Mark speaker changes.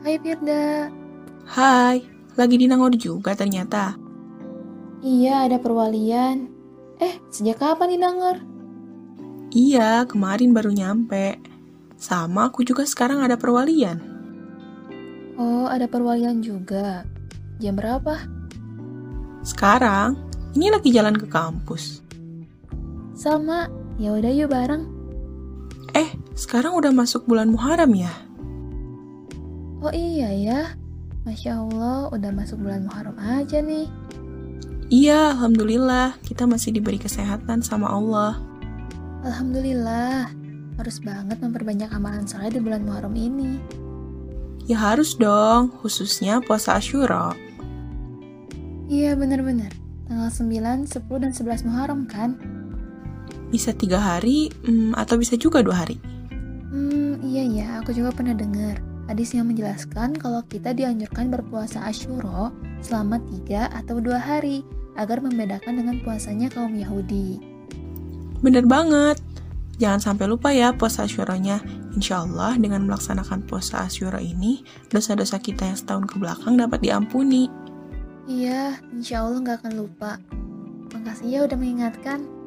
Speaker 1: Hai Firda.
Speaker 2: Hai, lagi di Nangor juga ternyata.
Speaker 1: Iya, ada perwalian. Eh, sejak kapan di Nangor?
Speaker 2: Iya, kemarin baru nyampe. Sama aku juga sekarang ada perwalian.
Speaker 1: Oh, ada perwalian juga. Jam berapa?
Speaker 2: Sekarang, ini lagi jalan ke kampus.
Speaker 1: Sama. Ya udah yuk bareng.
Speaker 2: Eh, sekarang udah masuk bulan Muharram ya?
Speaker 1: Oh iya ya. Masya Allah, udah masuk bulan Muharram aja nih.
Speaker 2: Iya, Alhamdulillah. Kita masih diberi kesehatan sama Allah.
Speaker 1: Alhamdulillah. Harus banget memperbanyak amalan soleh di bulan Muharram ini.
Speaker 2: Ya harus dong, khususnya puasa Asyura.
Speaker 1: Iya, bener-bener. Tanggal 9, 10, dan 11 Muharram kan?
Speaker 2: Bisa tiga hari, hmm, atau bisa juga dua hari.
Speaker 1: Hmm, iya ya, aku juga pernah dengar. Hadis yang menjelaskan kalau kita dianjurkan berpuasa Ashuro selama 3 atau 2 hari agar membedakan dengan puasanya kaum Yahudi.
Speaker 2: Bener banget. Jangan sampai lupa ya puasa Asyuranya. Insya Allah dengan melaksanakan puasa Asyura ini, dosa-dosa kita yang setahun kebelakang dapat diampuni.
Speaker 1: Iya, insya Allah nggak akan lupa. Makasih ya udah mengingatkan.